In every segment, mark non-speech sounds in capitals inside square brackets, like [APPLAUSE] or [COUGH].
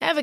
Ever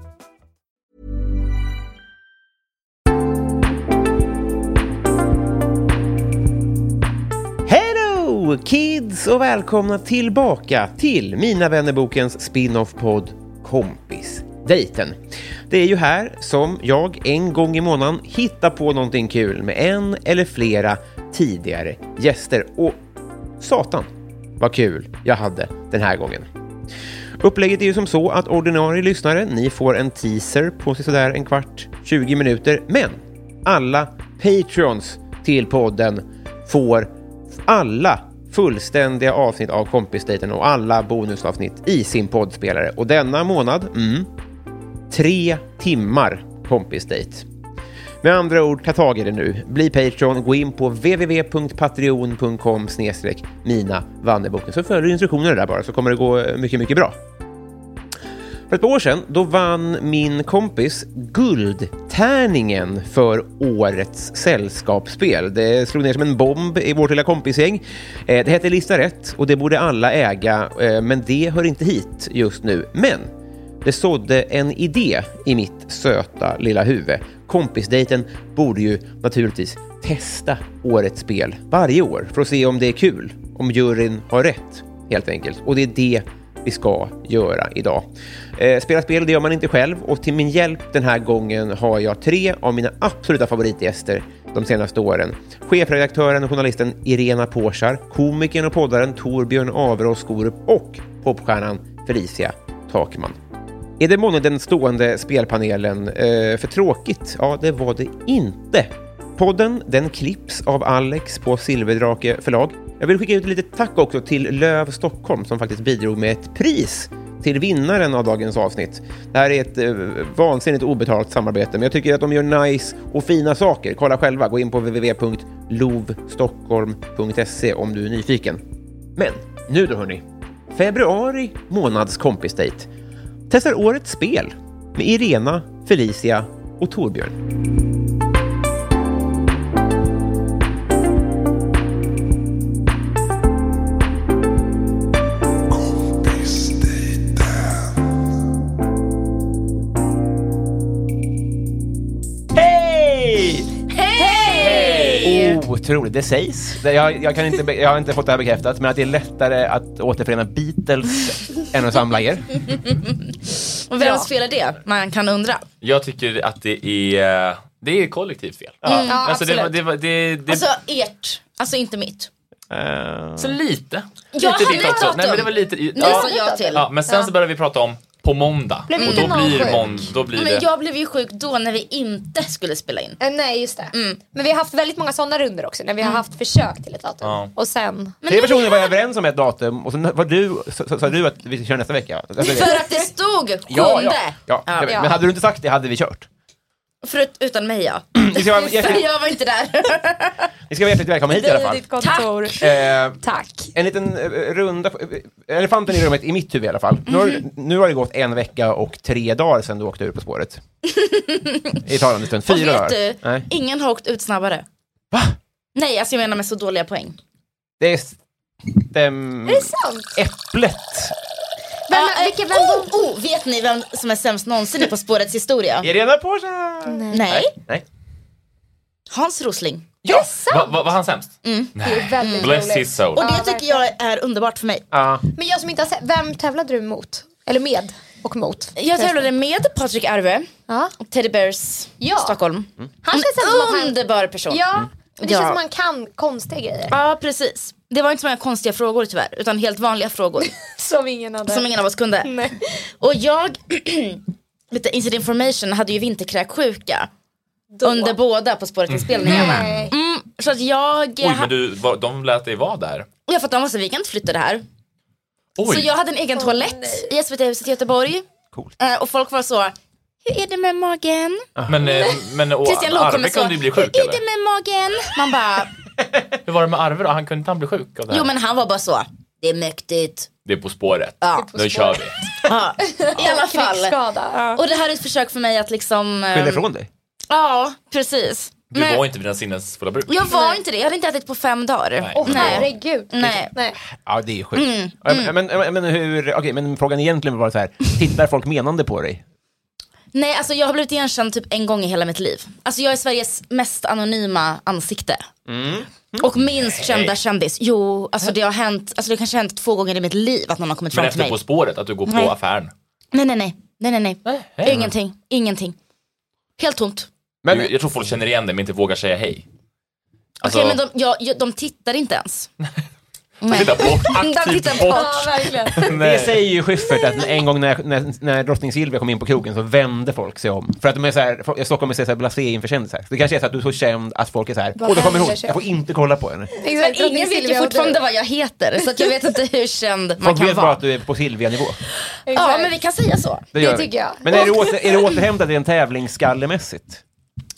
Hello kids och välkomna tillbaka till Mina vännerbokens spin-off-podd Kompis dejten. Det är ju här som jag en gång i månaden hittar på någonting kul med en eller flera tidigare gäster. Och satan vad kul jag hade den här gången. Upplägget är ju som så att ordinarie lyssnare, ni får en teaser på sådär en kvart, 20 minuter. Men alla patreons till podden får alla fullständiga avsnitt av Kompisdejten och alla bonusavsnitt i sin poddspelare. Och denna månad, mm, tre timmar kompisdejt. Med andra ord, ta tag i det nu. Bli Patreon, gå in på www.patreon.com snedstreck mina Wannerboken. så följer du instruktionerna där bara så kommer det gå mycket, mycket bra. För ett par år sedan då vann min kompis Guldtärningen för årets sällskapsspel. Det slog ner som en bomb i vårt lilla kompisgäng. Eh, Det hette Lista rätt och det borde alla äga, eh, men det hör inte hit just nu. Men det sådde en idé i mitt söta lilla huvud. Kompisdejten borde ju naturligtvis testa årets spel varje år för att se om det är kul, om juryn har rätt helt enkelt. Och det är det vi ska göra idag. Eh, spela spel, det gör man inte själv och till min hjälp den här gången har jag tre av mina absoluta favoritgäster de senaste åren. Chefredaktören och journalisten Irena Påsar, komikern och poddaren Torbjörn Averås Skorup och popstjärnan Felicia Takman. Är det månne den stående spelpanelen eh, för tråkigt? Ja, det var det inte. Podden den klipps av Alex på Silverdrake förlag. Jag vill skicka ut ett litet tack också till Löv Stockholm som faktiskt bidrog med ett pris till vinnaren av dagens avsnitt. Det här är ett eh, vansinnigt obetalt samarbete, men jag tycker att de gör nice och fina saker. Kolla själva, gå in på www.lovstockholm.se om du är nyfiken. Men nu då hörni, februari månads kompisdejt testar årets spel med Irena, Felicia och Torbjörn. Hej! Hey! Otroligt, det sägs. Det- Jag, jag, kan inte, be- jag har inte fått det här bekräftat, men att det är lättare att återförena Beatles än att samla er. Och vems fel är det? Man kan undra. Jag tycker att det är, det är kollektivt fel. Ja, alltså det, var- absolut. det, var- det, det, Alltså ert, alltså inte mitt. så lite. Ja, lite lite ditt också. datum. Nej, men det var lite, Det ja, sa jag till. ja, men sen så började vi prata om på måndag. Blev och inte då någon blir, sjuk? mån, då blir Men det... jag blev ju sjuk då när vi inte skulle spela in. Eh, Nej just det. Mm. Men vi har haft väldigt många sådana runder också när vi har haft försök till ett datum. Ja. Och sen, Tre personer var överens om ett datum och sen var du, sa, sa du att vi kör nästa vecka? va? Nästa vecka. För att det stod kunde. Ja, ja, ja, jag vet. Ja. Men hade du inte sagt det hade vi kört. Förut, utan mig ja. Ni ska vara För hjärtligt, jag var inte där. ni ska vara hjärtligt välkomna hit i alla fall. kontor. Tack. Eh, Tack. en liten eh, runda, eh, elefanten i rummet i mitt huvud i alla fall. Nu har, nu har det gått en vecka och tre dagar sedan du åkte ur På spåret. I talande stund. Och Fyra vet dagar. du, Nej. ingen har åkt ut snabbare. Va? Nej, alltså jag menar med så dåliga poäng. Det stämmer. Är det sant? Äpplet. Vem, Ja, eh, vilken, vem oh, oh, vet ni vem som är sämst någonsin i På spårets historia? Irena Porsa. Nej. Nej, Nej. Hans Rosling. Ja! Va- va- var han sämst? Det är väldigt Mm. Bless roligt. his soul. Mm. Och det Ja, Ehm. tycker jag är underbart för mig. Ja. Men jag som inte har sett, vem tävlade du mot? Eller med? och mot. Jag tävlade med Patrik Arve, Ja. Teddy Bears Ja. Stockholm. Han känns inte som En att han... underbar person. Ja, Mm. men det Ja. känns som att han kan konstiga grejer. Ja, precis. Det var inte så många konstiga frågor tyvärr, utan helt vanliga [LAUGHS] frågor Som ingen hade. som ingen av oss kunde. Nej. Och jag, [CLEARS THROAT] lite inside information, hade ju vinterkräksjuka under båda På spåret-inspelningarna. Nej. Mm, så att jag, Oj, men du, var- de lät dig vara där. ja för att de var så, vi kan inte flytta det här. Oj, Så jag hade en egen toalett i SVT-huset i Göteborg. Coolt. Eh, Och folk var så, hur är det med magen? men, eh, men och, Christian Lok kommer Arve så, kunde ju bli hur sjuk är det eller? med magen? Man [LAUGHS] bara, Hur var det med Arve då? Han kunde inte han bli sjuk av det här? jo men han var bara så, det är mäktigt. Det är På spåret. Ja. Nu kör vi. Ja, I alla fall. Krigsskada. Ja. Och det här är ett försök för mig att liksom... eh, Skyll ifrån dig. Ja, precis. Du Men- var inte vid dina sinnens fulla bruk. Jag var inte det, jag hade inte ätit på fem dagar. Nej. Åh Nej. herregud. Nej. Nej. Ja, det är sjukt. Ja, Men, men, men, hur, okay, men frågan egentligen var så här, tittar folk menande på dig? Nej, alltså jag har blivit igenkänd typ en gång i hela mitt liv. Alltså jag är Sveriges mest anonyma ansikte. Mm. Och minst kända kändis. Jo, alltså det har hänt, alltså det kanske har hänt två gånger i mitt liv att någon har kommit Men fram till efter mig. På spåret, att du går på Nej. affären. Nej, nej, nej, nej, nej, nej. Ingenting, ingenting. Helt tomt. Men, Du, jag tror folk känner igen dig men inte vågar säga hej. Okej, Alltså, men de, ja, ja, de tittar inte ens. de tittar bort. [LAUGHS] De tittar bort. på. Ja, verkligen. det säger ju Schyffert, att en gång när, när, när drottning Silvia kom in på krogen så vände folk sig om. För att de är så här, folk- Stockholm är så här blasé inför kändisar. Det kanske är så att du är så känd att folk är så här, åh, då kommer hon, händer sig?" jag får inte kolla på henne. Men Exakt, drottning ingen vet ju Silvia och fortfarande du. vad jag heter, så att jag vet inte hur känd man Folk kan vet bara vara. att du är på Silvia-nivå. Ja, Exakt. men vi kan säga så. Det, gör Det vi. tycker jag. Men är det, åter, är det återhämtat rent tävlingsskallemässigt?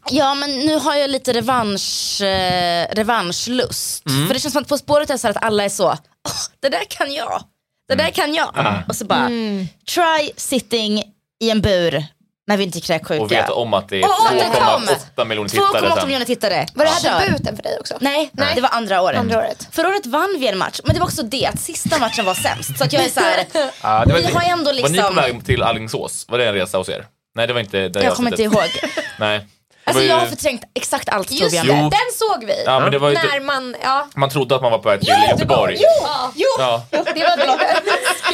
Ja men nu har jag lite revansch, eh, revanschlust. Mm. För det känns som att På spåret är så här att alla är så, "Åh, det där kan jag, det Mm. där kan jag. Ah. Och så bara, Mm. try sitting i en bur med vinterkräksjuka. Och vet om att liksom. det är Och återkom. 2,8 miljoner tittare 2,8 sen. miljoner tittare. Var det Kör. här debuten för dig också? Nej, det var andra året. Andra året. Förra året vann vi en match, men det var också det att sista matchen var sämst. Så att jag är så [LAUGHS] här, Ja, det var vi har ändå Var liksom, ni på väg till Alingsås? Var det en resa hos er? Nej, det var inte där jag kommer inte suttit. ihåg. [LAUGHS] Nej. Alltså Det var ju- jag har förträngt exakt allt tror Just jag. Jo. det, den såg vi. Ja, men det var ju När inte... man, ja. Man trodde att man var på väg till Göteborg. Jo, jo, Ja. det var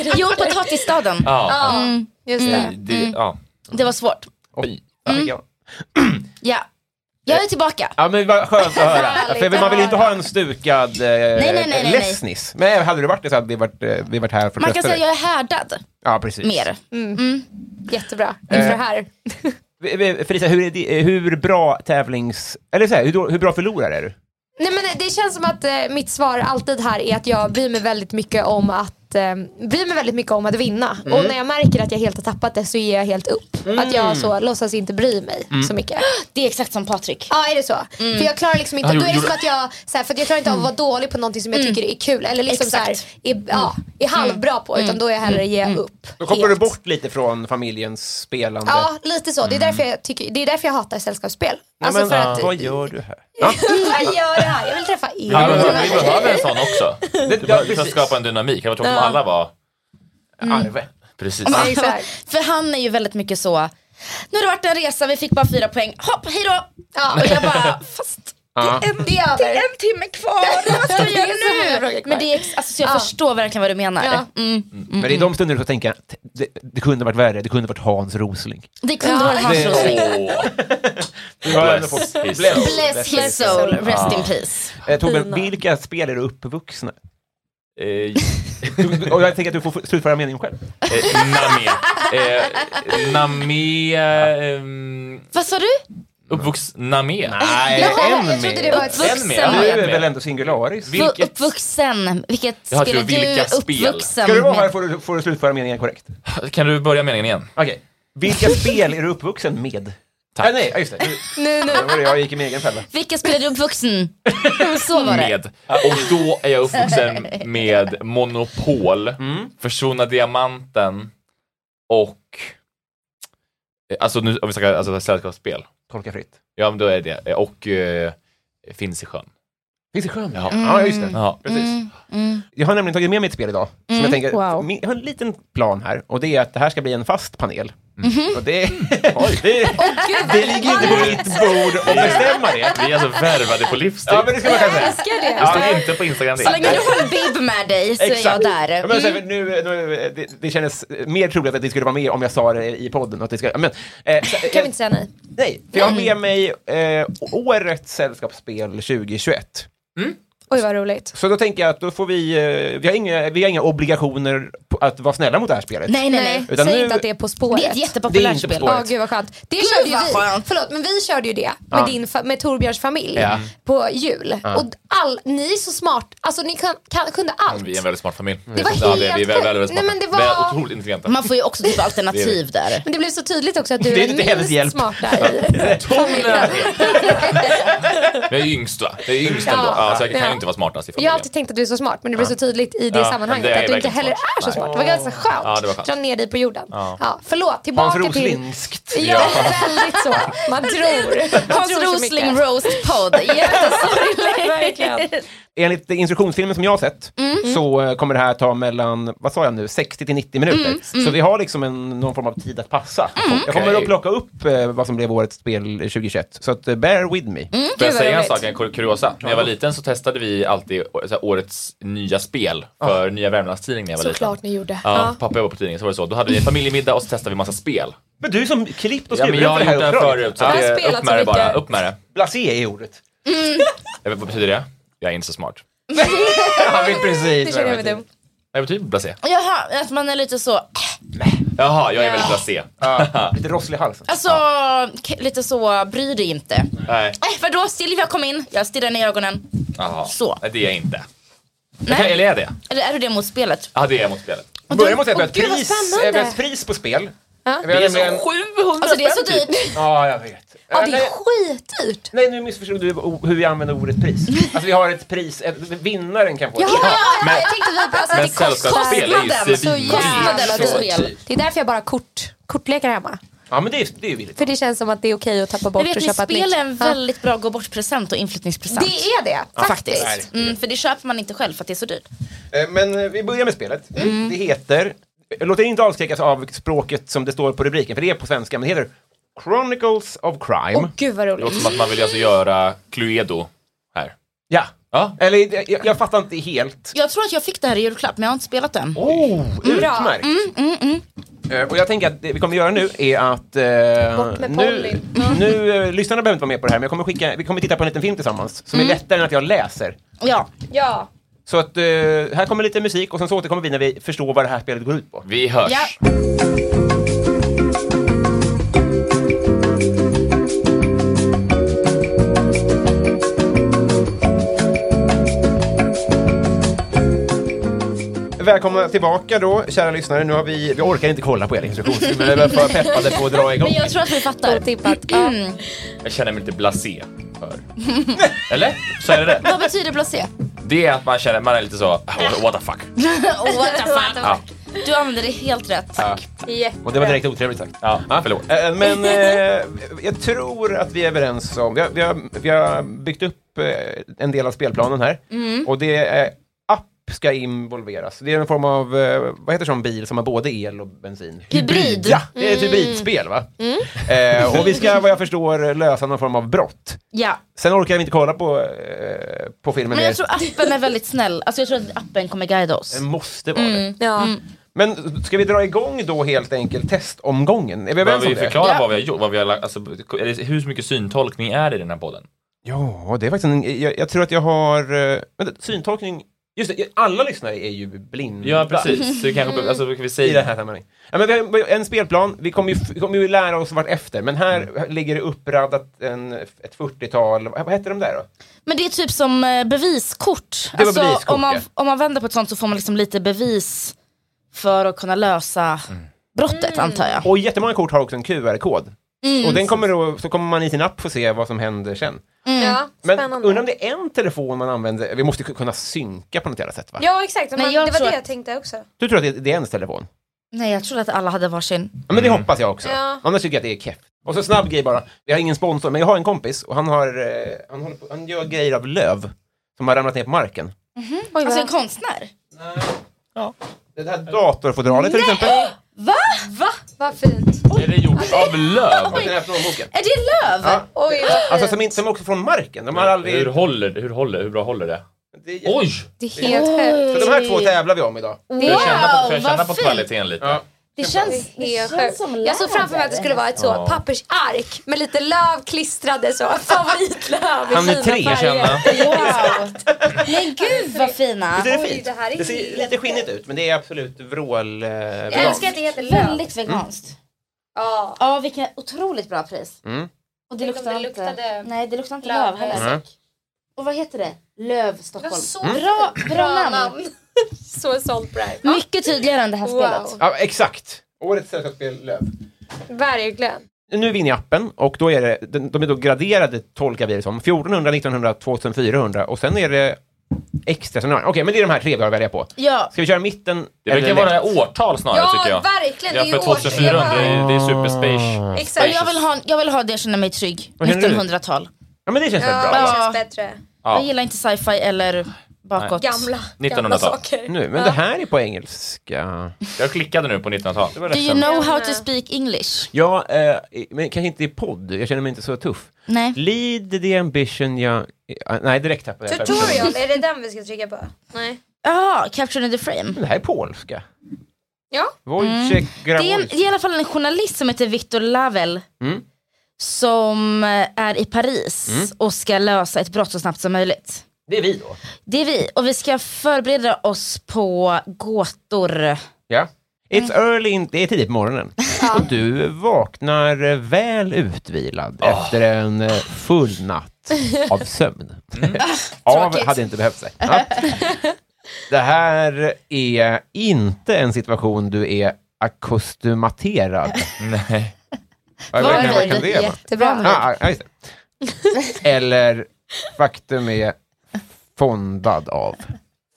det. Jo, potatisstaden. Ja. Ja, just det. Det, Mm. ja. Det var svårt. Oj. Ja, ja. Ja. Jag är tillbaka. Ja men vad skönt att höra. Härligt För att man vill inte höra. ha en stukad eh, nej, nej, nej, nej. ledsnis. Men hade du varit det så hade vi varit, eh, vi varit här för Man att kan trösta säga att dig. jag är härdad Ja precis. mer. Jättebra inför det Eh. här. Vi- vi- Felicia, hur, är di- eh, hur bra tävlings... Eller så här, hur, då- hur bra förlorare är du? Nej, men det känns som att eh, mitt svar alltid här är att jag bryr mig väldigt mycket om att eh, bryr mig väldigt mycket om att vinna. Och Mm. när jag märker att jag helt har tappat det så ger jag helt upp. Att jag så låtsas inte bry mig Mm. så mycket. Det är exakt som Patrik. Ja är det så? För jag klarar liksom inte, Ja, då är det gjorde- som att jag, så här, för att jag klarar inte av att vara dålig på någonting som jag tycker är kul eller liksom så här, Exakt. är, ja, är halvbra på utan då är jag hellre ge upp. Då kopplar helt. du bort lite från familjens spelande. Ja lite så, det är därför jag, tycker, det är därför jag hatar sällskapsspel. Alltså för att, Vad gör du här? jag gör det här, jag vill träffa er. Ja, men, vi behöver en sån också. Det, Vi ja, behöver- Vi ska precis. skapa en dynamik. Det var tråkigt om alla var... Mm. Arve. Precis. exakt. För han är ju väldigt mycket så, nu har det varit en resa, vi fick bara fyra poäng, hopp, hejdå! Ja. Och jag bara, fast Ja. Det är det är en timme kvar, vad ska jag Det är så många göra nu? frågor kvar. Men det är, ex- alltså, så jag Ja. förstår verkligen vad du menar. Ja. Mm. Men det är de stunder du får tänka, t- det, det kunde varit värre, det kunde varit Hans Rosling. Det kunde varit hans Det- rosling. Åh. Bless. Bless his Bless. Bless his soul, rest in peace. Eh, Torbjörn, vilka spel är du uppvuxna? Eh, Du- Och jag tänker att du får f- slutföra meningen själv. eh, Nami. Eh, Nami... ehm, Vad sa du? Uppvuxen Nami. Nej, Jaha, jag trodde det var ett- Vuxen. En mer. Du Ja, en är mer. väl ändå singularis? Vi- Vilket- Uppvuxen, vilket Jag hade skulle ju vilka du spel. uppvuxen Ska du vara här med? får du, får du slutföra meningen korrekt. Kan du börja meningen igen? Okej. Vilka spel är du uppvuxen med? Tack. Ah, nej, ja, just det. Nu, nu. var det jag gick i min egen fälla. Vilka spel är du [LAUGHS] uppvuxen? Så var det. Med. Och då är jag [LAUGHS] uppvuxen med Monopol, Mm. Försvunna Diamanten och... eh, Alltså nu, om vi snackar alltså, sällskapsspel. Tolka fritt. Ja, men då är det. eh, Och eh, Finns i sjön. Finns det skärm? Ja. Ja, just Mm. det. Ja. Precis. Jag har nämligen tagit med mig ett spel idag. Som jag, tänker, Wow. min- jag har en liten plan här och det är att det här ska bli en fast panel. Och det, [LAUGHS] oj, det, det ligger inte på mitt bord att bestämma det. Vi är alltså värvade på livstid. Ja, men det ska man kanske säga. Älskar det. Det står inte på Instagram det. Så länge du har en bib med dig så är jag Exakt. där. Ja, men, så Mm. här, nu, nu, det, det kändes mer troligt att ni skulle vara med om jag sa det i podden. Att det ska, men, eh, så- Kan vi inte säga Mm. nej? Nej, för jag har med mig eh, årets sällskapsspel 2021. Oj vad roligt. Så då tänker jag att då får vi, eh, vi, har inga, vi har inga obligationer på att vara snälla mot det här spelet. Nej, nej, nej. Utan Säg nu- inte att det är På spåret. Det är ett Det är jättepopulärt inte på spel. spåret. Ja, gud vad skönt. Det körde ju vad vi. skönt. Förlåt, men vi körde ju det med, Ja. din, fa- med Torbjörns familj Ja. på jul. Och all, ni är så smart, alltså ni kan, kan, kunde allt. Alltså, Vi är en väldigt smart familj. Det var ja, vi är, vi är helt- väldigt, väldigt smarta. Nej, men det var- Vi är otroligt intelligenta. Man får ju också typ alternativ där. Men det blev så tydligt också att du Det är är, inte hennes minst hjälp. smarta [LAUGHS] i Tonen! Jag är yngst va? Jag är yngst ändå. Ja. Ja, så jag kan Ja. ju inte vara smartast i Jag familjen. har alltid tänkt att du är så smart men det blev så tydligt i det Ja, sammanhanget men det är att du inte verkligen heller smart. är så Nej. smart. Det var ganska skönt. Ja, det var skönt. Dra ner dig på jorden. Ja. Ja. förlåt, Hans tillbaka till... Roslingskt. Ja, Ja. [LAUGHS] väldigt så. Man tror. Man Hans tror så Rosling mycket. roast-podd. [LAUGHS] [LAUGHS] Jättesorgligt. Enligt instruktionsfilmen som jag har sett Mm. så eh, kommer det här ta mellan, vad sa jag nu, 60 till 90 minuter. Mm. Så vi har liksom en, någon form av tid att passa. Jag kommer Okej. att plocka upp eh, vad som blev årets spel 2021. Så att, eh, bear with me. Får jag Gud, vad säga en roligt. sak, en kur- kuriosa? När jag var liten så testade vi alltid å- så här, årets nya spel för Nya Värmlandstidningen när jag var liten. Såklart ni gjorde. Ja, pappa jobbade på tidningen så var det så. Då hade vi en familjemiddag och så testade vi massa spel. Men du som klippt och Ja, men skurit jag har för det gjort här den uppdraget. förut så Jag har det är spelat upp så med det bara. mycket. Upp med det. Blasé är [LAUGHS] ordet. Jag vet, vad betyder det? Jag är inte så smart. Ja, men precis. Det känner jag mig dum. Vad betyder blasé? Jaha, att man är lite så, Jaha, jag är väldigt blasé. Ja, Lite rosslig i halsen. alltså k- lite så, bry dig inte. Nej. Äh, vadå Silvia kom in, jag stirrar ner i ögonen. Jaha. Så. Nej, det är jag inte. Jag kan, Nej. eller är jag det? Eller är du det mot spelet? Ja, det är jag mot spelet. Börja med att säga att vi Alltså, har ett pris, Gud, vad spännande. eh, vi har ett pris på spel. Ja. Vi har nämligen- Alltså det är så dyrt. Ja, jag vet. Ja, typ- det Nej, är skitdyrt. Nej, nu missförstod du o- hur vi använder ordet pris. [LAUGHS] Alltså vi har ett pris, ett, vinnaren kan få ett pris. Men, Jag tänkte vi alltså, men det kostar sällskapsspel är ju kostnaden, så svindyrt. jävla Så dyrt. dyrt. Det är därför jag bara har kort, kortlekar hemma. Ja, men det är, det är ju billigt. För det känns som att det är okej att tappa bort Men vet och ni, köpa ett spel är en nytt. väldigt bra gå bort-present och inflyttningspresent. Ja. Det är det, faktiskt. faktiskt. Mm, för det köper man inte själv för att det är så dyrt. Eh, Men eh, vi börjar med spelet. Mm. Det heter, låt er inte avskräckas av språket som det står på rubriken, för det är på svenska, men det heter Chronicles of Crime. Åh, gud vad Det roligt. låter som att man vill alltså göra Cluedo här. Ja. Ja. Eller jag, jag, jag fattar inte helt. Jag tror att jag fick det här i julklapp men jag har inte spelat den. Oh, utmärkt! Mm, Eh, Och jag tänker att det vi kommer göra nu är att... eh, Bort med nu, Polly. nu eh, lyssnarna behöver inte vara med på det här, men jag kommer skicka, vi kommer titta på en liten film tillsammans som Mm. är lättare än att jag läser. Ja. Ja. Så att eh, här kommer lite musik och sen så återkommer vi när vi förstår vad det här spelet går ut på. Vi hörs. Ja. Välkomna tillbaka då, kära lyssnare. Nu har vi, vi orkar inte kolla på er instruktion, men vi var för peppade på att dra igång. Men jag tror att vi fattar. Otippat. Ja. Jag känner mig lite blasé för. [LAUGHS] Eller? Så är det det. Vad betyder blasé? Det är att man känner, man är lite så, "Ah, what the fuck. Oh, what the fuck. Ja, Du använder det helt rätt. Och det var direkt otrevligt sagt. ja, ah, förlåt. Eh, Men eh, jag tror att vi är överens om, vi har, vi har, vi har byggt upp eh, en del av spelplanen här. Mm. Och det är, app ska involveras. Det är en form av, eh, vad heter sån bil som har både el och bensin? Hybrid. Mm. Ja, det är ett hybridspel va? Eh, och vi ska vad jag förstår lösa någon form av brott. Ja. Sen orkar vi inte kolla på, eh, på filmen Men mer. jag tror appen är väldigt snäll. Alltså jag tror att appen kommer guida oss. Det måste Mm. vara det. Ja. Mm. Men ska vi dra igång då helt enkelt testomgången? Är vi Behöver överens om vi det? förklara Ja. vad vi har gjort? Vad vi har, lagt- alltså, är det, hur mycket syntolkning är det i den här podden? Ja, det är faktiskt en, jag, jag tror att jag har... eh, Vänta, syntolkning. Just det, alla lyssnare är ju blinda. Ja, precis. Så vi kanske, alltså, kan vi I det säga, här sammanhanget. Ja, men vi har en spelplan, vi kommer, ju, vi kommer ju lära oss vart efter, men här Mm. ligger det uppradat en, ett 40-tal, vad vad heter de där då? Men det är typ som eh, beviskort. Alltså, var beviskort, om, man, ja. om man vänder på ett sånt så får man liksom lite bevis för att kunna lösa brottet antar jag. Och jättemånga kort har också en QR-kod. Mm. Och den kommer då, så kommer man i sin app få se vad som händer sen. ja, Men spännande. undrar om det är en telefon man använder, vi måste kunna synka på något jävla sätt va? Ja exakt, Men man, jag det var tror det att- jag tänkte också. Du tror att det, det är ens telefon? Nej jag trodde att alla hade varsin. Ja, men det hoppas jag också. Ja. Annars tycker jag att det är keff. Och så snabb grej bara. Jag har ingen sponsor, men jag har en kompis och han, har, eh, han, håller på, han gör grejer av löv. som har ramlat ner på marken. Oj, Alltså vad- en konstnär? Det här datorfodralet till exempel. Va? Va? vad fint. Är det Alltså, gjort av löv? Den här plånboken. Är det löv? Ja. Oj, vad fint. Alltså som, inte, som också från marken. De har aldrig... Hur håller det? Hur, håller, hur bra håller det? Det är- Oj! det är helt sjukt. Så de här två tävlar vi om idag. Wow, Får jag känna på, får jag känna vad på fint. kvaliteten lite? Ja. Det känns, Det det är känns sjukt. som Jag såg framför mig att det skulle vara ett så Ja. pappersark med lite löv klistrade [LAUGHS] så. Favoritlöv i Han är fina tre, färger. känna. Wow. [LAUGHS] Men gud vad fina. Det är Oj, fint. det här är Det ser helt- lite skinnigt ut men det är absolut vrål... Eh, Jag veganskt. älskar att det heter löv. Väldigt veganskt. Ja. Mm. Ja vilken otroligt bra pris. Mm. Och det Tänk om luktar det luktade inte. Nej det luktar inte löv. löv heller. Nej. Och vad heter det? Löv Stockholm. Mm. Så Bra, bra namn. så sålt bra. Ja, Mycket tydligare än det här spelet. Wow. Ja, exakt. Årets sällskapsspel Löv. Verkligen. Nu är vi inne i appen och då är det, de de är då graderade, tolkar vi det som, 1400, 1900, 2400 och sen är det extra. sen har- Okej, men det är de här tre vi har att välja på. Ja. Ska vi köra mitten? Det verkar vara årtal snarare tycker jag. verkligen. Ja, det är för ju 2004 det årstema. är, det är superspace. Exakt. Jag vill, ha, jag vill ha det jag känner mig trygg. Vad känner du? 1900-tal. Ja, men det känns väl Ja, bra. det Ja. känns bättre. Jag gillar inte sci-fi eller bakåt. Gamla, gamla 1900-tal. saker. Nu, men det här är på engelska. Jag klickade nu på 1900-tal. var Do rätt you sen. know how to speak English? Ja, eh, men kanske inte i podd. Jag känner mig inte så tuff. Nej. Lead the ambition jag... eh, Nej, direkt tappade jag Tutorial, är det den vi ska trycka på? Nej. Jaha, Capture in the Frame. Men det här är polska. Ja. Wojciech Mm. Det är, en, Grawols. det är i alla fall en journalist som heter Viktor Lavel. Mm. Som eh, är i Paris Mm. och ska lösa ett brott så snabbt som möjligt. Det är vi då. Det är vi och vi ska förbereda oss på gåtor. Ja. It's early, in, det är tidigt på morgonen. Och du vaknar eh, väl utvilad efter en eh, full [LAUGHS] natt av sömn. av [LAUGHS] Ah, Tråkigt. hade inte behövt sig. [LAUGHS] Ja. Det här är inte en situation du är ackustomaterad. Nej. Jag Var vet inte, är vad kan vi? det vara? Jättebra. Ah, ah, just det. [LAUGHS] Eller faktum är fondad av.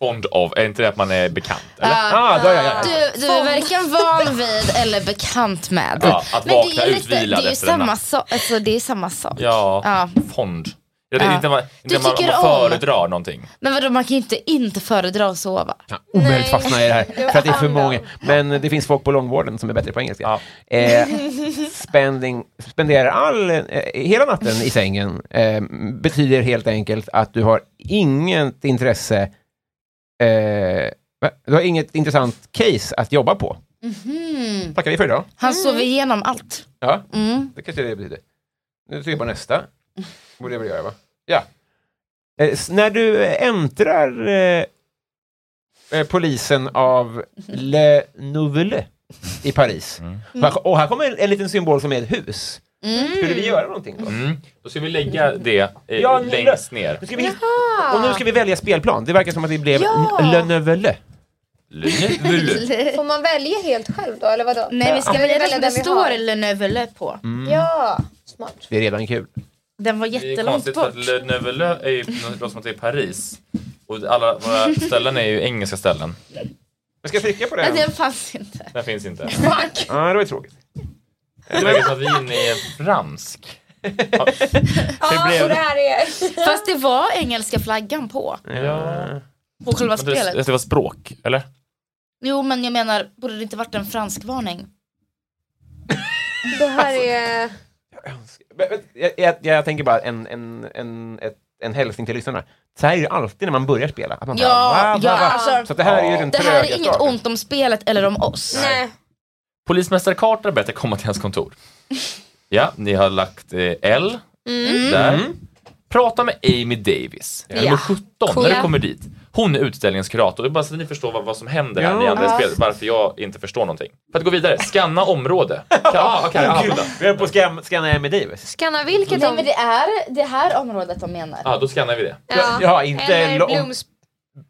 Fond av, är inte det att man är bekant? Eller? Ah, då, ja, ja. Du, du är varken van vid eller bekant med. Ja, att Men det vakna är, lite, utvilad det är ju efter en samma, natt. so alltså, det är samma sak. Ja, Ja. fond. Ja, det är Ja. inte man, Du inte man, tycker man om. föredrar någonting. Men vadå man kan ju inte inte föredra att sova. Omöjligt fastna i det här, för att det är för andra. många. Men det finns folk på långvården som är bättre på engelska. Ja. Eh, spending, spenderar all, eh, hela natten i sängen eh, betyder helt enkelt att du har inget intresse, eh, va? du har inget intressant case att jobba på. Tackar vi för idag. Han sover igenom allt. Ja, Mm. det kanske det betyder. Nu trycker jag på nästa. Borde jag väl göra va? Ja. Eh, s- när du äntrar eh, eh, polisen av Le Nouvelle i Paris. Och, här, och här kommer en, en liten symbol som är ett hus. Skulle vi göra någonting då? Mm. Då ska vi lägga det eh, Ja, nu- längst ner. Nu ska vi, och nu ska vi välja spelplan. Det verkar som att det blev N- Le Nouvelle. [LAUGHS] Lynevul. Får man välja helt själv då eller vadå? Nej vi ska Eller välja den som det den vi har? står Lenövele på. Ja, smart. Det är redan kul. Den var Mm. Det är jättelångt konstigt för bort. att Lynevulö är ju det låter som att det är Paris. Och alla våra ställen är ju engelska ställen. Jag ska trycka på Nej, den. den fanns inte. Den finns [LAUGHS] inte. Ja, det var ju tråkigt. Det verkar som att vi är inne i en fransk. Ja, och det här är... Fast det var engelska flaggan på. Mm. Ja. På själva Men det, spelet. det var språk, eller? Jo men jag menar, borde det inte varit en fransk varning? Det här är... Men- men Jag, jag, jag tänker bara en, en, en, ett, en hälsning till lyssnarna. Så här är det alltid när man börjar spela. Att man bara, Ja, ja, Så alltså, att det här är ju den det här är tröga inget starten. ont om spelet eller om oss. Nej. Polismästare Carter har bett er komma till hans kontor. Ja, ni har lagt eh, L Mm. där. Prata med Amy Davis, nummer 17, när du kommer dit. Hon är utställningens kurator. Det är Bara så att ni förstår vad, vad som händer här Ja. i andra spelet, varför jag inte förstår någonting. För att gå vidare, skanna [LAUGHS] område. Kan, ah, okay, ah, vänta. Vi är på skam, skanna Emmy Davis. Skanna vilket Nej de... men det är det här området de menar. ah, då skannar vi det. Ja, Ja, inte Eller lo- om- Blooms...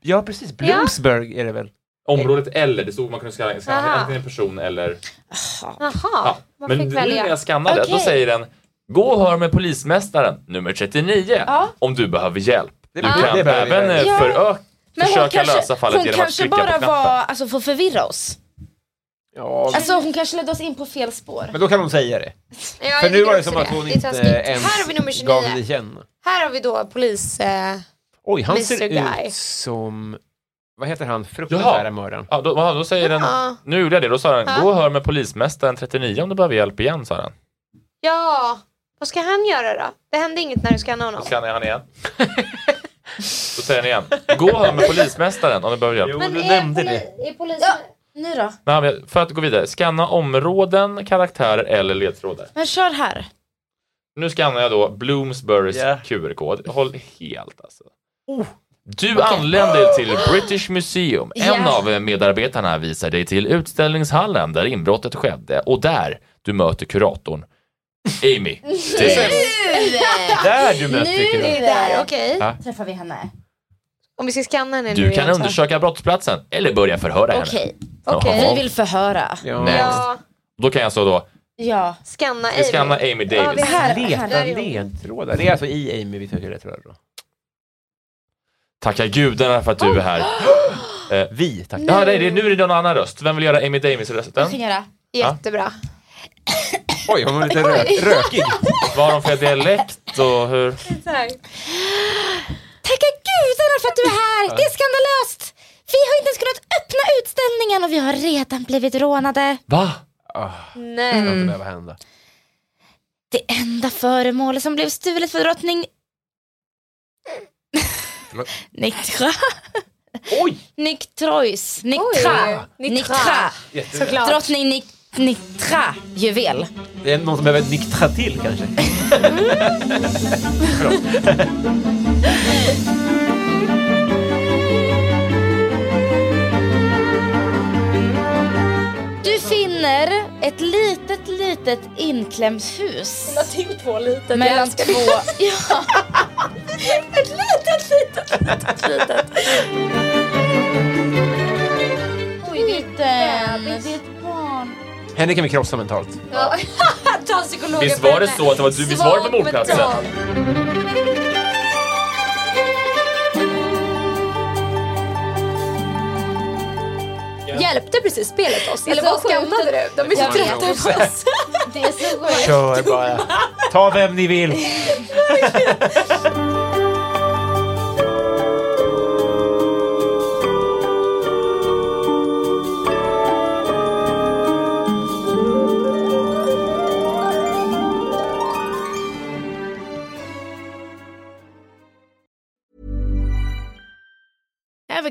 Ja, precis. Bloomsburg är det väl? Området L, det stod man kunde skanna, skanna Aha. antingen en person eller... Jaha, Ja. man Men nu fick när välja. jag skannade, då Okej. säger den Gå och hör med polismästaren, nummer 39, om du behöver hjälp. Du Det- kan det behöver vi även eh, Ja. förö- Men försöka hon kanske, lösa fallet hon genom att kanske klicka på bara knappen. var, alltså för att förvirra oss. Ja, Alltså hon kanske ledde oss in på fel spår. men då kan hon säga det. Ja, För jag nu tycker var det också som att hon Det är inte taskigt. ens Här har vi nummer gav det 29. till känna. Här har vi då polis... Eh, Oj, han Mr. ser Guy. ut som... Vad heter han? Fruktansvärda Jaha. mördaren. Ja, då, aha, då säger den, Ja. nu gjorde jag det, då sa den, Ja. gå och hör med polismästaren 39 om du behöver hjälp igen, sa den. Ja, vad ska han göra då? Det hände inget när du skannade Då honom. skannar jag [LAUGHS] han igen. då säger den igen, gå och hör med polismästaren om du behöver hjälp. Men är poli- Är polisen... Ja. Nu då? Nej, men för att gå vidare, scanna områden, karaktärer eller ledtrådar. Men kör här. Nu skannar jag då Bloomsburys Ja. QR-kod. Håll helt alltså. Du anländer till British Museum. En Ja. av eh, medarbetarna visar dig till utställningshallen där inbrottet skedde och där du möter kuratorn Amy. Det är där du möter kuratorn. Där, okej. Träffar vi henne? Om vi ska skanna henne nu Du kan igen, så. undersöka brottsplatsen eller börja förhöra henne. Okej, Okej. Jaha. vi vill förhöra. Ja. Nej. Ja, Då kan jag alltså då Ja. skanna vi Amy. skanna Amy Ja, vi Davis. här. Leta Där är hon. ledtrådar. Det är alltså i Amy vi söker ledtrådar då. Tacka gudarna för att du är här. Eh, vi tackar. Ja, nej, det, nu är det någon annan röst. Vem vill göra Amy Davis-rösten? Jag kan göra. Jättebra. Oj, hon var lite rö rökig. Vad har de för dialekt och hur? Tacka gudarna för att du är här! Det är skandalöst! Vi har inte ens kunnat öppna utställningen och vi har redan blivit rånade. Va? Nej. Det ska inte behöva hända. Det enda föremål som blev stulet för drottning... [LAUGHS] Förlåt? Niktra. Oj! Niktrois. Niktra. Oj. Niktra. Såklart. Drottning Nik Niktra. Juvel. Det är någon som behöver nyktra till kanske. Du finner ett litet, litet inklämt hus. till två lite. Mellan två... Ja. Ett litet, litet, litet, litet. Liten. Henne kan vi krossa mentalt. Ja. Ta psykologen Visst på var det henne. så att det var du- visst var det på Svag mordplatsen? mental. Hjälpte precis spelet oss? Eller vad skannade Alltså, du? De är så Jag vet trötta på oss. Det är så sjukt. Kör bara. Ta vem ni vill. Ever